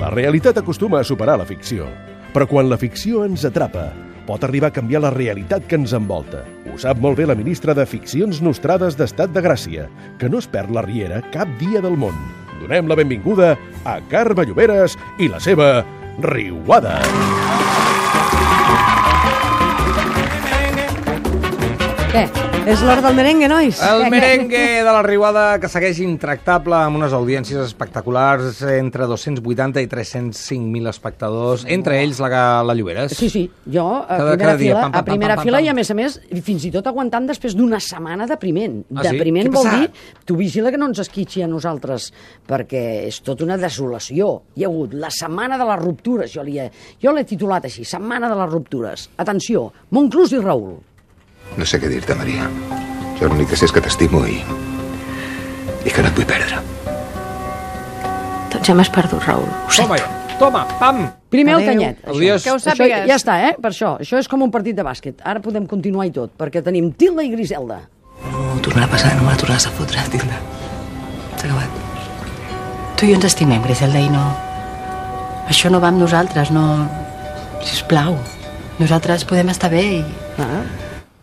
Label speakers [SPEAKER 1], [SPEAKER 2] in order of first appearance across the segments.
[SPEAKER 1] La realitat acostuma a superar la ficció, però quan la ficció ens atrapa, pot arribar a canviar la realitat que ens envolta. Ho sap molt bé la ministra de Ficcions Nostrades d'Estat de Gràcia, que no es perd la riera cap dia del món. Donem la benvinguda a Carme Lloberes i la seva Riuada.
[SPEAKER 2] Què? És l'hora del merengue, nois?
[SPEAKER 3] El merengue de la Riuada que segueix intractable amb unes audiències espectaculars entre 280 i 305.000 espectadors, entre ells la, la Lloberes.
[SPEAKER 2] Sí, sí, jo a
[SPEAKER 3] Cada-
[SPEAKER 2] primera
[SPEAKER 3] cada dia,
[SPEAKER 2] fila,
[SPEAKER 3] pam, pam,
[SPEAKER 2] a primera
[SPEAKER 3] pam, pam,
[SPEAKER 2] fila i a
[SPEAKER 3] pam.
[SPEAKER 2] més a més fins i tot aguantant després d'una setmana depriment.
[SPEAKER 3] Ah, sí?
[SPEAKER 2] Depriment
[SPEAKER 3] Què
[SPEAKER 2] vol
[SPEAKER 3] passa?
[SPEAKER 2] dir, tu vigila que no ens esquitxi a nosaltres, perquè és tot una desolació. Hi ha hagut la setmana de les ruptures, jo l'he jo l'he titulat així, setmana de les ruptures. Atenció, Montclús i Raül.
[SPEAKER 4] No sé què dir-te, Maria. Jo l'únic que sé és que t'estimo i... i que no et vull perdre.
[SPEAKER 5] Doncs ja m'has perdut, Raül. Ho
[SPEAKER 3] Toma,
[SPEAKER 5] sento.
[SPEAKER 3] toma, pam!
[SPEAKER 2] Primer
[SPEAKER 6] Adéu.
[SPEAKER 2] el canyet. això.
[SPEAKER 3] Adiós.
[SPEAKER 6] Que ho
[SPEAKER 2] Això
[SPEAKER 6] sàpigues.
[SPEAKER 2] ja està, eh? Per això. Això és com un partit de bàsquet. Ara podem continuar i tot, perquè tenim Tilda i Griselda.
[SPEAKER 7] No tornarà a passar, no me la tornaràs a fotre, Tilda. S'ha acabat.
[SPEAKER 5] Tu i jo ens estimem, Griselda, i no... Això no va amb nosaltres, no... Sisplau, nosaltres podem estar bé i...
[SPEAKER 2] Ah,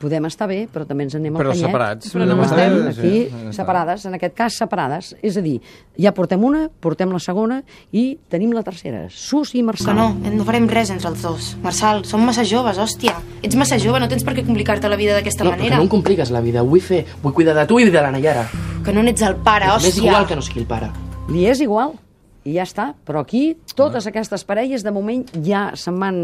[SPEAKER 2] podem estar bé, però també ens anem
[SPEAKER 3] Però
[SPEAKER 2] al canyet.
[SPEAKER 3] separats.
[SPEAKER 6] Però no
[SPEAKER 2] Però
[SPEAKER 6] m'estem
[SPEAKER 2] estem
[SPEAKER 3] Sí, sí,
[SPEAKER 2] aquí
[SPEAKER 3] sí, sí.
[SPEAKER 2] separades, en aquest cas separades. És a dir, ja portem una, portem la segona i tenim la tercera. Sus i
[SPEAKER 8] Que
[SPEAKER 2] Marçal.
[SPEAKER 8] Ah, no, Eh, no farem res entre els dos. Marçal, som massa joves, hòstia. Ets massa jove, no tens per què complicar-te la vida d'aquesta
[SPEAKER 7] No, perquè
[SPEAKER 8] manera.
[SPEAKER 7] no em compliques la vida. Vull fer, vull cuidar de tu i de la Nayara.
[SPEAKER 8] Que no n'ets el pare,
[SPEAKER 7] M'és
[SPEAKER 8] hòstia.
[SPEAKER 7] igual que no sigui el pare.
[SPEAKER 2] Li és igual i ja està. Però aquí totes aquestes parelles de moment ja se'n van...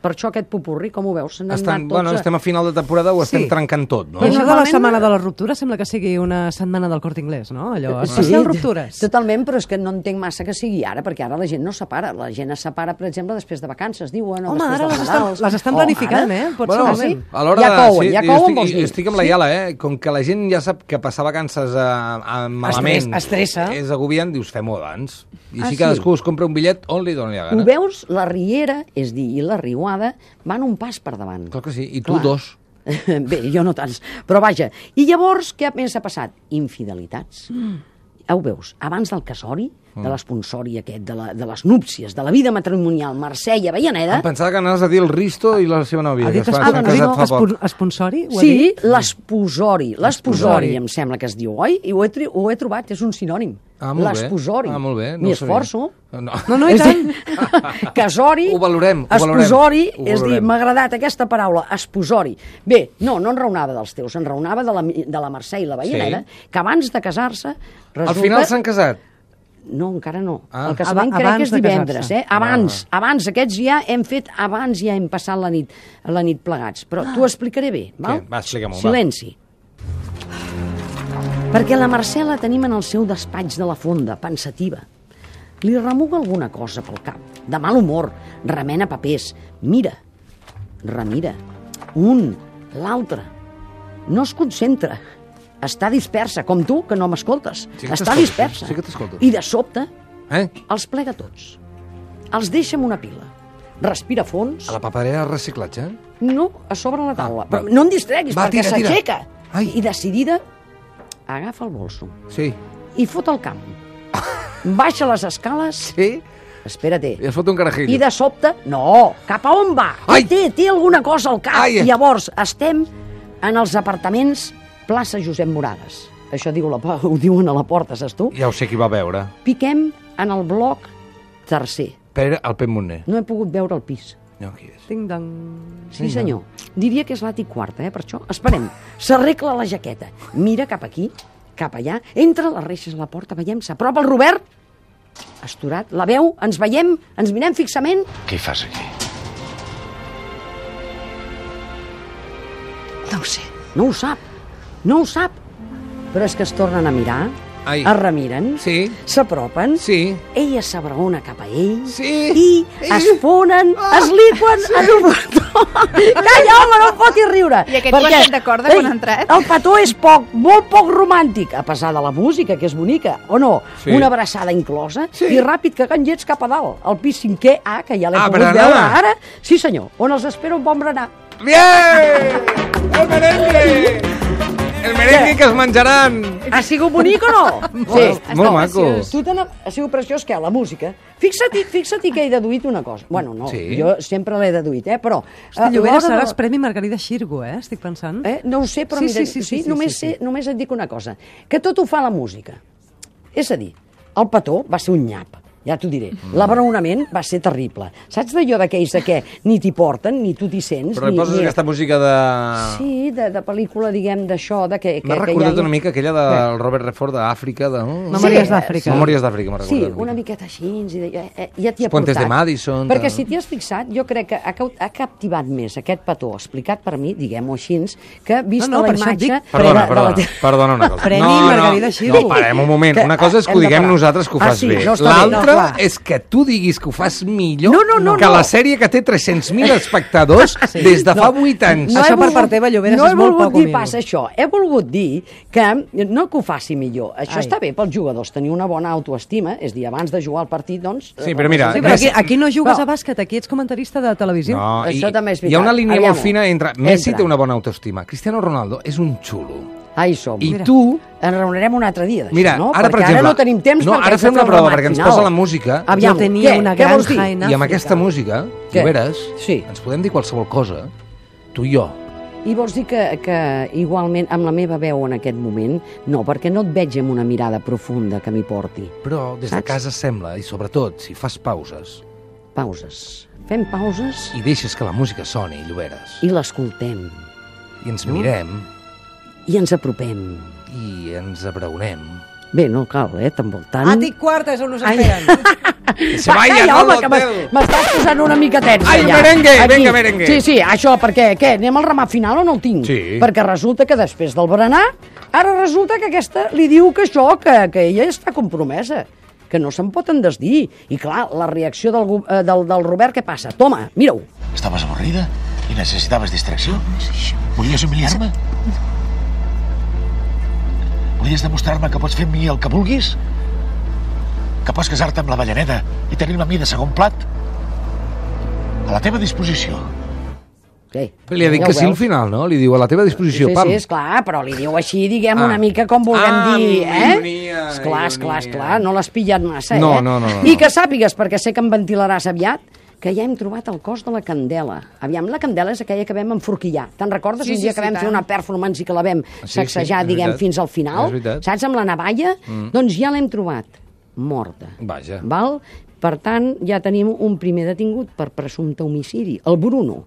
[SPEAKER 2] Per això aquest pupurri, com ho veus? Se n'han
[SPEAKER 3] Estan,
[SPEAKER 2] anat tots
[SPEAKER 3] bueno,
[SPEAKER 2] a-
[SPEAKER 3] estem a final de temporada, ho estem
[SPEAKER 6] Sí.
[SPEAKER 3] trencant tot, no?
[SPEAKER 6] Però això de la
[SPEAKER 2] Normalment-
[SPEAKER 6] setmana de la ruptura sembla que sigui una setmana del cort inglès, no? Allò, especial ruptures.
[SPEAKER 2] Totalment, però és que no entenc massa que sigui ara, perquè ara la gent no es separa. La gent es separa, per exemple, després de vacances, diuen, o
[SPEAKER 6] Home,
[SPEAKER 2] després
[SPEAKER 6] ara
[SPEAKER 2] de
[SPEAKER 6] les estan-
[SPEAKER 2] Nadals,
[SPEAKER 6] les estan
[SPEAKER 2] o
[SPEAKER 6] planificant,
[SPEAKER 2] ara.
[SPEAKER 6] eh? Pot
[SPEAKER 2] bueno,
[SPEAKER 6] ser
[SPEAKER 2] sí.
[SPEAKER 6] moment.
[SPEAKER 3] a l'hora
[SPEAKER 2] ja
[SPEAKER 3] de-
[SPEAKER 2] couen,
[SPEAKER 3] sí,
[SPEAKER 2] ja
[SPEAKER 3] jo
[SPEAKER 2] couen,
[SPEAKER 3] estic,
[SPEAKER 2] vols dir.
[SPEAKER 3] jo estic amb la Iala, eh? Com que la gent ja sap que passar vacances eh, a, malament...
[SPEAKER 6] estressa.
[SPEAKER 3] És agobiant, dius, fem-ho abans. I
[SPEAKER 2] Ah,
[SPEAKER 3] així
[SPEAKER 2] sí?
[SPEAKER 3] cadascú es compra un bitllet on li doni la
[SPEAKER 2] Ho
[SPEAKER 3] gana.
[SPEAKER 2] veus? La riera, és a dir, i la riuada van un pas per davant.
[SPEAKER 3] Clar que sí, i tu dos.
[SPEAKER 2] Bé, jo no tants, però vaja. I llavors, què més ha passat? Infidelitats.
[SPEAKER 6] Mm.
[SPEAKER 2] Ja ho veus, abans del casori, de
[SPEAKER 3] Mm.
[SPEAKER 2] l'esponsori aquest, de, la, de les núpcies, de la vida matrimonial, Mercè i Avellaneda...
[SPEAKER 3] Em pensava que anaves a dir el Risto i la seva nòvia.
[SPEAKER 6] Ha
[SPEAKER 3] que
[SPEAKER 6] dit
[SPEAKER 3] es van- s'han
[SPEAKER 2] espon-
[SPEAKER 3] casat fa poc.
[SPEAKER 6] espon- esponsori? Ho ha
[SPEAKER 2] Sí,
[SPEAKER 6] dit?
[SPEAKER 2] l'esposori. L'esposori,
[SPEAKER 3] L'esposori.
[SPEAKER 2] em sembla que es diu, oi? I ho he, tri- ho he trobat, és un sinònim.
[SPEAKER 3] Ah, molt bé.
[SPEAKER 2] l'esposori.
[SPEAKER 3] Ah, molt bé.
[SPEAKER 2] M'hi
[SPEAKER 3] ho sabia.
[SPEAKER 2] esforço.
[SPEAKER 3] No.
[SPEAKER 6] No, no, i
[SPEAKER 2] És a
[SPEAKER 6] tant.
[SPEAKER 2] dir, Casori,
[SPEAKER 3] Ho valorem, ho valorem,
[SPEAKER 2] esposori,
[SPEAKER 3] ho
[SPEAKER 2] és a dir,
[SPEAKER 3] valorem.
[SPEAKER 2] m'ha agradat aquesta paraula, esposori. Bé, no, no enraonava dels teus, enraonava de la, de la Mercè i la Vallaneda, que abans de casar-se resulta...
[SPEAKER 3] Al final s'han casat.
[SPEAKER 2] No, encara no.
[SPEAKER 3] Ah.
[SPEAKER 2] El casament
[SPEAKER 6] Aba-
[SPEAKER 2] crec que
[SPEAKER 6] abans
[SPEAKER 2] és
[SPEAKER 6] de
[SPEAKER 2] divendres,
[SPEAKER 6] casar-se.
[SPEAKER 2] eh? Abans, abans, aquests ja hem fet, abans ja hem passat la nit, la nit plegats. Però
[SPEAKER 6] Ah.
[SPEAKER 2] t'ho explicaré bé, val?
[SPEAKER 3] Va, explica-m'ho, va.
[SPEAKER 2] Silenci. Perquè la Mercè la tenim en el seu despatx de la fonda, pensativa. Li remuga alguna cosa pel cap, de mal humor, remena papers, mira, remira, un, l'altre. No es concentra. Està dispersa, com tu, que no m'escoltes.
[SPEAKER 3] Sí que
[SPEAKER 2] Està
[SPEAKER 3] t'escolto,
[SPEAKER 2] dispersa.
[SPEAKER 3] sí que t'escolto.
[SPEAKER 2] I de sobte
[SPEAKER 3] Eh?
[SPEAKER 2] els plega tots. Els deixa en una pila. Respira fons.
[SPEAKER 3] A la paperera de reciclatge?
[SPEAKER 2] No, a sobre la taula.
[SPEAKER 3] Ah,
[SPEAKER 2] Però
[SPEAKER 3] va.
[SPEAKER 2] no em distreguis,
[SPEAKER 3] Va,
[SPEAKER 2] perquè
[SPEAKER 3] tira, tira.
[SPEAKER 2] s'aixeca.
[SPEAKER 3] Ai.
[SPEAKER 2] I decidida, agafa el bolso
[SPEAKER 3] Sí.
[SPEAKER 2] i fot el camp. Baixa les escales.
[SPEAKER 3] Sí?
[SPEAKER 2] Espera-te.
[SPEAKER 3] I es fot un carajillo.
[SPEAKER 2] I de sobte, no, cap a on va?
[SPEAKER 3] Ai!
[SPEAKER 2] Té, té alguna cosa al cap.
[SPEAKER 3] Ai!
[SPEAKER 2] I llavors estem en els apartaments plaça Josep Moragas. Això diu la, pa- ho diuen a la porta, saps tu?
[SPEAKER 3] Ja ho sé qui va veure.
[SPEAKER 2] Piquem en el bloc tercer.
[SPEAKER 3] Pere el Pep Moner.
[SPEAKER 2] No he pogut veure el pis.
[SPEAKER 3] No, qui és?
[SPEAKER 6] Ding dong.
[SPEAKER 2] Sí, senyor. Diria que és l'àtic quarta, eh, per això. Esperem. S'arregla la jaqueta. Mira cap aquí, cap allà. Entra les reixes a la porta, veiem, s'apropa el Robert. Asturat, la veu, ens veiem, ens mirem fixament.
[SPEAKER 4] Què hi fas aquí?
[SPEAKER 5] No ho sé.
[SPEAKER 2] No ho sap, no ho sap. Però és que es tornen a mirar,
[SPEAKER 3] Ai.
[SPEAKER 2] es remiren,
[SPEAKER 3] Sí.
[SPEAKER 2] s'apropen,
[SPEAKER 3] Sí.
[SPEAKER 2] ella s'abraona cap a ell
[SPEAKER 3] Sí. Ah.
[SPEAKER 2] i es fonen, es liquen en un petó. Calla, home, no em fotis riure.
[SPEAKER 6] I aquest
[SPEAKER 2] perquè-
[SPEAKER 6] quartet de corda quan
[SPEAKER 2] Ei,
[SPEAKER 6] ha entrat?
[SPEAKER 2] El petó és poc, molt poc romàntic, a pesar de la música, que és bonica, o no?
[SPEAKER 3] Sí.
[SPEAKER 2] Una abraçada inclosa
[SPEAKER 3] Sí.
[SPEAKER 2] i ràpid que gangets cap a dalt, al pis cinquè A, que ja l'he
[SPEAKER 3] Ah,
[SPEAKER 2] pogut
[SPEAKER 3] berenar.
[SPEAKER 2] veure ara. Sí, senyor, on els espera un bon berenar.
[SPEAKER 3] Bien! El merengue! El merengue que es menjaran!
[SPEAKER 2] Ha sigut bonic o no?
[SPEAKER 3] Molt, molt maco.
[SPEAKER 2] Tu te n'ha- ha sigut preciós que la música. Fixa-t'hi fixa que he deduït una cosa. Bueno, no,
[SPEAKER 3] Sí.
[SPEAKER 2] jo sempre l'he deduït, eh? Però...
[SPEAKER 6] Hosti,
[SPEAKER 2] eh,
[SPEAKER 6] Llobera
[SPEAKER 2] l'hora de-
[SPEAKER 6] serà el Premi Margarida Xirgo, eh? Estic pensant.
[SPEAKER 2] Eh? No ho sé, però
[SPEAKER 6] Sí,
[SPEAKER 2] mira,
[SPEAKER 6] sí, sí, sí, sí,
[SPEAKER 2] només,
[SPEAKER 6] sí, sí.
[SPEAKER 2] Sé, només et dic una cosa, que tot ho fa la música. És a dir, el petó va ser un nyap, ja t'ho diré.
[SPEAKER 3] Mm.
[SPEAKER 2] L'abraonament va ser terrible. Saps d'allò d'aquells de què ni t'hi porten, ni tu t'hi sents...
[SPEAKER 3] Però li
[SPEAKER 2] ni,
[SPEAKER 3] poses
[SPEAKER 2] ni...
[SPEAKER 3] aquesta música de...
[SPEAKER 2] Sí, de, de pel·lícula, diguem, d'això, de que... que
[SPEAKER 3] M'ha
[SPEAKER 2] que
[SPEAKER 3] recordat
[SPEAKER 2] hi ha-
[SPEAKER 3] una mica aquella del Robert Redford d'Àfrica, de...
[SPEAKER 6] Memòries d'Àfrica.
[SPEAKER 3] Memòries d'Àfrica, m'ha
[SPEAKER 2] Sí,
[SPEAKER 3] recordat.
[SPEAKER 2] una miqueta així, i de, eh, eh, ja t'hi ha
[SPEAKER 3] Els puentes
[SPEAKER 2] portat.
[SPEAKER 3] de Madison,
[SPEAKER 2] Perquè
[SPEAKER 3] tal.
[SPEAKER 2] si t'hi has fixat, jo crec que ha, cau- ha captivat més aquest petó explicat per mi, diguem-ho així, que vist
[SPEAKER 6] No, no,
[SPEAKER 2] la
[SPEAKER 6] per això et
[SPEAKER 2] imatge...
[SPEAKER 6] dic-
[SPEAKER 2] pre-
[SPEAKER 3] Perdona,
[SPEAKER 2] de- de la
[SPEAKER 3] perdona,
[SPEAKER 2] te-
[SPEAKER 3] perdona una cosa.
[SPEAKER 6] Premi Margarida Xirgo.
[SPEAKER 3] No, parem un moment.
[SPEAKER 2] Que,
[SPEAKER 3] Una cosa
[SPEAKER 2] ah,
[SPEAKER 3] és que ho
[SPEAKER 2] hem de
[SPEAKER 3] diguem
[SPEAKER 2] parar.
[SPEAKER 3] nosaltres que ho
[SPEAKER 2] Ah,
[SPEAKER 3] fas
[SPEAKER 2] sí,
[SPEAKER 3] bé.
[SPEAKER 2] no, està bé,
[SPEAKER 3] L'altra
[SPEAKER 2] no, clar.
[SPEAKER 3] és que tu diguis que ho fas millor
[SPEAKER 2] No, no, no,
[SPEAKER 3] que
[SPEAKER 2] no.
[SPEAKER 3] la sèrie que té 300.000 espectadors des de fa 8 anys.
[SPEAKER 6] Això
[SPEAKER 2] he
[SPEAKER 6] per part teva, Lloberes,
[SPEAKER 2] no
[SPEAKER 6] és
[SPEAKER 2] he
[SPEAKER 6] molt
[SPEAKER 2] volgut
[SPEAKER 6] poco
[SPEAKER 2] dir
[SPEAKER 6] humil.
[SPEAKER 2] pas això. He volgut dir que no que ho faci millor. Això
[SPEAKER 6] Ai.
[SPEAKER 2] Ai. està bé pels jugadors, tenir una bona autoestima, és a dir, abans de jugar al partit, doncs...
[SPEAKER 3] Sí, però mira,
[SPEAKER 6] Sí, però
[SPEAKER 3] Messi-
[SPEAKER 6] aquí, aquí no jugues
[SPEAKER 2] No.
[SPEAKER 6] a bàsquet, aquí ets comentarista de televisió.
[SPEAKER 3] No,
[SPEAKER 2] Això
[SPEAKER 3] i-
[SPEAKER 2] també és
[SPEAKER 3] Hi ha una
[SPEAKER 2] veritat.
[SPEAKER 3] línia
[SPEAKER 2] Aviam-ho.
[SPEAKER 3] molt fina entre... Messi
[SPEAKER 2] Entra.
[SPEAKER 3] té una bona autoestima. Cristiano Ronaldo és un xulo.
[SPEAKER 2] Ahí som.
[SPEAKER 3] I
[SPEAKER 2] Mira.
[SPEAKER 3] tu
[SPEAKER 2] Ens reunirem un altre dia, d'això,
[SPEAKER 3] Mira,
[SPEAKER 2] no?
[SPEAKER 3] ara, per
[SPEAKER 2] perquè
[SPEAKER 3] exemple-
[SPEAKER 2] ara no tenim temps
[SPEAKER 3] No,
[SPEAKER 2] perquè
[SPEAKER 3] ara
[SPEAKER 2] ens
[SPEAKER 3] fem la
[SPEAKER 2] ha fet
[SPEAKER 3] prova,
[SPEAKER 2] remat
[SPEAKER 3] perquè ens
[SPEAKER 2] final.
[SPEAKER 3] posa la música.
[SPEAKER 2] Aviam,
[SPEAKER 6] Jo tenia
[SPEAKER 2] què?
[SPEAKER 6] una
[SPEAKER 2] què
[SPEAKER 6] gran
[SPEAKER 2] vols dir?
[SPEAKER 6] jaina.
[SPEAKER 3] I
[SPEAKER 6] Àfrica.
[SPEAKER 3] amb aquesta música,
[SPEAKER 2] Què?
[SPEAKER 3] Lloberes,
[SPEAKER 2] Sí.
[SPEAKER 3] ens podem dir qualsevol cosa, tu i jo.
[SPEAKER 2] I vols dir que, que igualment amb la meva veu en aquest moment, no, perquè no et veig amb una mirada profunda que m'hi porti.
[SPEAKER 3] Però des de
[SPEAKER 2] Saps?
[SPEAKER 3] casa sembla, i sobretot si fas pauses
[SPEAKER 2] Pauses. Fem pauses
[SPEAKER 3] i deixes que la música soni, Lloberes,
[SPEAKER 2] i l'escoltem.
[SPEAKER 3] i ens mirem
[SPEAKER 2] I ens apropem.
[SPEAKER 3] i ens abraonem.
[SPEAKER 2] Bé, no cal, eh, tampoc tant.
[SPEAKER 6] Àtic quarta és on us esperen.
[SPEAKER 3] Se
[SPEAKER 2] Va,
[SPEAKER 3] vaya,
[SPEAKER 2] calla,
[SPEAKER 3] no
[SPEAKER 2] home,
[SPEAKER 3] lo
[SPEAKER 2] que m'es-
[SPEAKER 3] teu.
[SPEAKER 2] m'estàs posant una mica tensa,
[SPEAKER 3] Ai,
[SPEAKER 2] ja.
[SPEAKER 3] merengue, venga, merengue.
[SPEAKER 2] Sí, sí, això, perquè, què, anem al ramat final o no el tinc?
[SPEAKER 3] Sí.
[SPEAKER 2] Perquè resulta que després del berenar, ara resulta que aquesta li diu que això, que, que ella està compromesa que no se'n pot en desdir. I clar, la reacció del, go- eh, del, del Robert, què passa? Toma, mira-ho.
[SPEAKER 9] Estaves avorrida i necessitaves distracció? Volies humiliar-me? Volies demostrar-me que pots fer amb mi el que vulguis? Que pots casar-te amb la ballaneda i tenir-me a mi de segon plat? A la teva disposició.
[SPEAKER 2] Sí,
[SPEAKER 3] Li ha dit
[SPEAKER 2] ja
[SPEAKER 3] que
[SPEAKER 2] ho
[SPEAKER 3] sí al
[SPEAKER 2] veus.
[SPEAKER 3] final, no? Li diu a la teva disposició,
[SPEAKER 2] Sí,
[SPEAKER 3] pam.
[SPEAKER 2] sí, esclar, però li diu així, diguem,
[SPEAKER 3] Ah.
[SPEAKER 2] una mica com vulguem
[SPEAKER 3] Ah,
[SPEAKER 2] dir, eh?
[SPEAKER 3] ironia,
[SPEAKER 2] esclar, esclar,
[SPEAKER 3] ironia.
[SPEAKER 2] esclar, no l'has pillat massa,
[SPEAKER 3] No,
[SPEAKER 2] eh?
[SPEAKER 3] no, no, no,
[SPEAKER 2] I
[SPEAKER 3] no.
[SPEAKER 2] que sàpigues, perquè sé que em ventilaràs aviat, que ja hem trobat el cos de la Candela. Aviam, la Candela és aquella que vam enforquillar. Te'n recordes
[SPEAKER 8] Sí,
[SPEAKER 2] un
[SPEAKER 8] sí,
[SPEAKER 2] dia que
[SPEAKER 8] sí,
[SPEAKER 2] vam
[SPEAKER 8] tant.
[SPEAKER 2] fer una performance i que la vam
[SPEAKER 3] Ah, sí,
[SPEAKER 2] sacsejar,
[SPEAKER 3] és
[SPEAKER 2] diguem,
[SPEAKER 3] veritat.
[SPEAKER 2] fins al final?
[SPEAKER 3] És veritat. Mm.
[SPEAKER 2] Saps, amb la navalla? Doncs ja l'hem trobat, morta.
[SPEAKER 3] Vaja.
[SPEAKER 2] Val? Per tant, ja tenim un primer detingut per presumpte homicidi, el Bruno,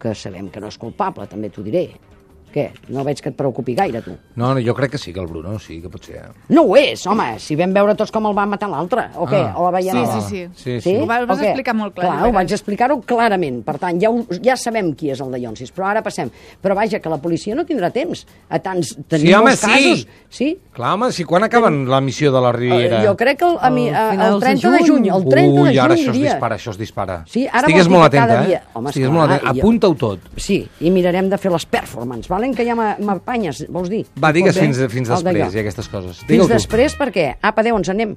[SPEAKER 2] que sabem que no és culpable, també t'ho diré. Què? No veig que et preocupi gaire, tu.
[SPEAKER 3] No, no, jo crec que sí, que el Bruno sí, que pot ser. eh?
[SPEAKER 2] No ho és, home, si vam veure tots com el va matar l'altre, o què?
[SPEAKER 3] Ah.
[SPEAKER 2] O la veia
[SPEAKER 8] Sí,
[SPEAKER 2] nova?
[SPEAKER 8] sí, sí.
[SPEAKER 3] Sí, sí.
[SPEAKER 2] Sí?
[SPEAKER 8] Ho va- ho vas
[SPEAKER 2] O què?
[SPEAKER 8] explicar molt clar,
[SPEAKER 2] Clar, ho
[SPEAKER 8] Lloberes.
[SPEAKER 2] vaig explicar-ho clarament. Per tant, ja, ho, ja sabem qui és el de Llonsis, però ara passem. Però vaja, que la policia no tindrà temps. A tants, tenim
[SPEAKER 3] home,
[SPEAKER 2] molts
[SPEAKER 3] sí.
[SPEAKER 2] casos. Sí,
[SPEAKER 3] Clar, home, si quan acaben la missió de la Riera?
[SPEAKER 2] Eh, Jo crec que el, a mi,
[SPEAKER 6] Al
[SPEAKER 2] a-
[SPEAKER 6] finals
[SPEAKER 2] el
[SPEAKER 6] de
[SPEAKER 2] 30 de
[SPEAKER 6] juny.
[SPEAKER 2] juny, el 30 de
[SPEAKER 3] Ui,
[SPEAKER 2] juny
[SPEAKER 3] ara això es
[SPEAKER 2] diria.
[SPEAKER 3] dispara, això es dispara.
[SPEAKER 2] Sí, ara
[SPEAKER 3] Estigues
[SPEAKER 2] vol dir
[SPEAKER 3] molt
[SPEAKER 2] que cada
[SPEAKER 3] atenta,
[SPEAKER 2] dia-
[SPEAKER 3] eh?
[SPEAKER 2] Home,
[SPEAKER 3] Estigues
[SPEAKER 2] esclar,
[SPEAKER 3] molt atenta.
[SPEAKER 2] i jo-
[SPEAKER 3] Apunta-ho tot.
[SPEAKER 2] Sí, i mirarem de fer les performances, valen? Que ja m'ha- m'apanyes, vols dir?
[SPEAKER 3] Va, digues
[SPEAKER 2] Molt bé.
[SPEAKER 3] fins, fins
[SPEAKER 2] El d'allò.
[SPEAKER 3] després i aquestes coses.
[SPEAKER 2] Fins
[SPEAKER 3] Digue-ho tu.
[SPEAKER 2] després perquè, apa, adéu, ens anem.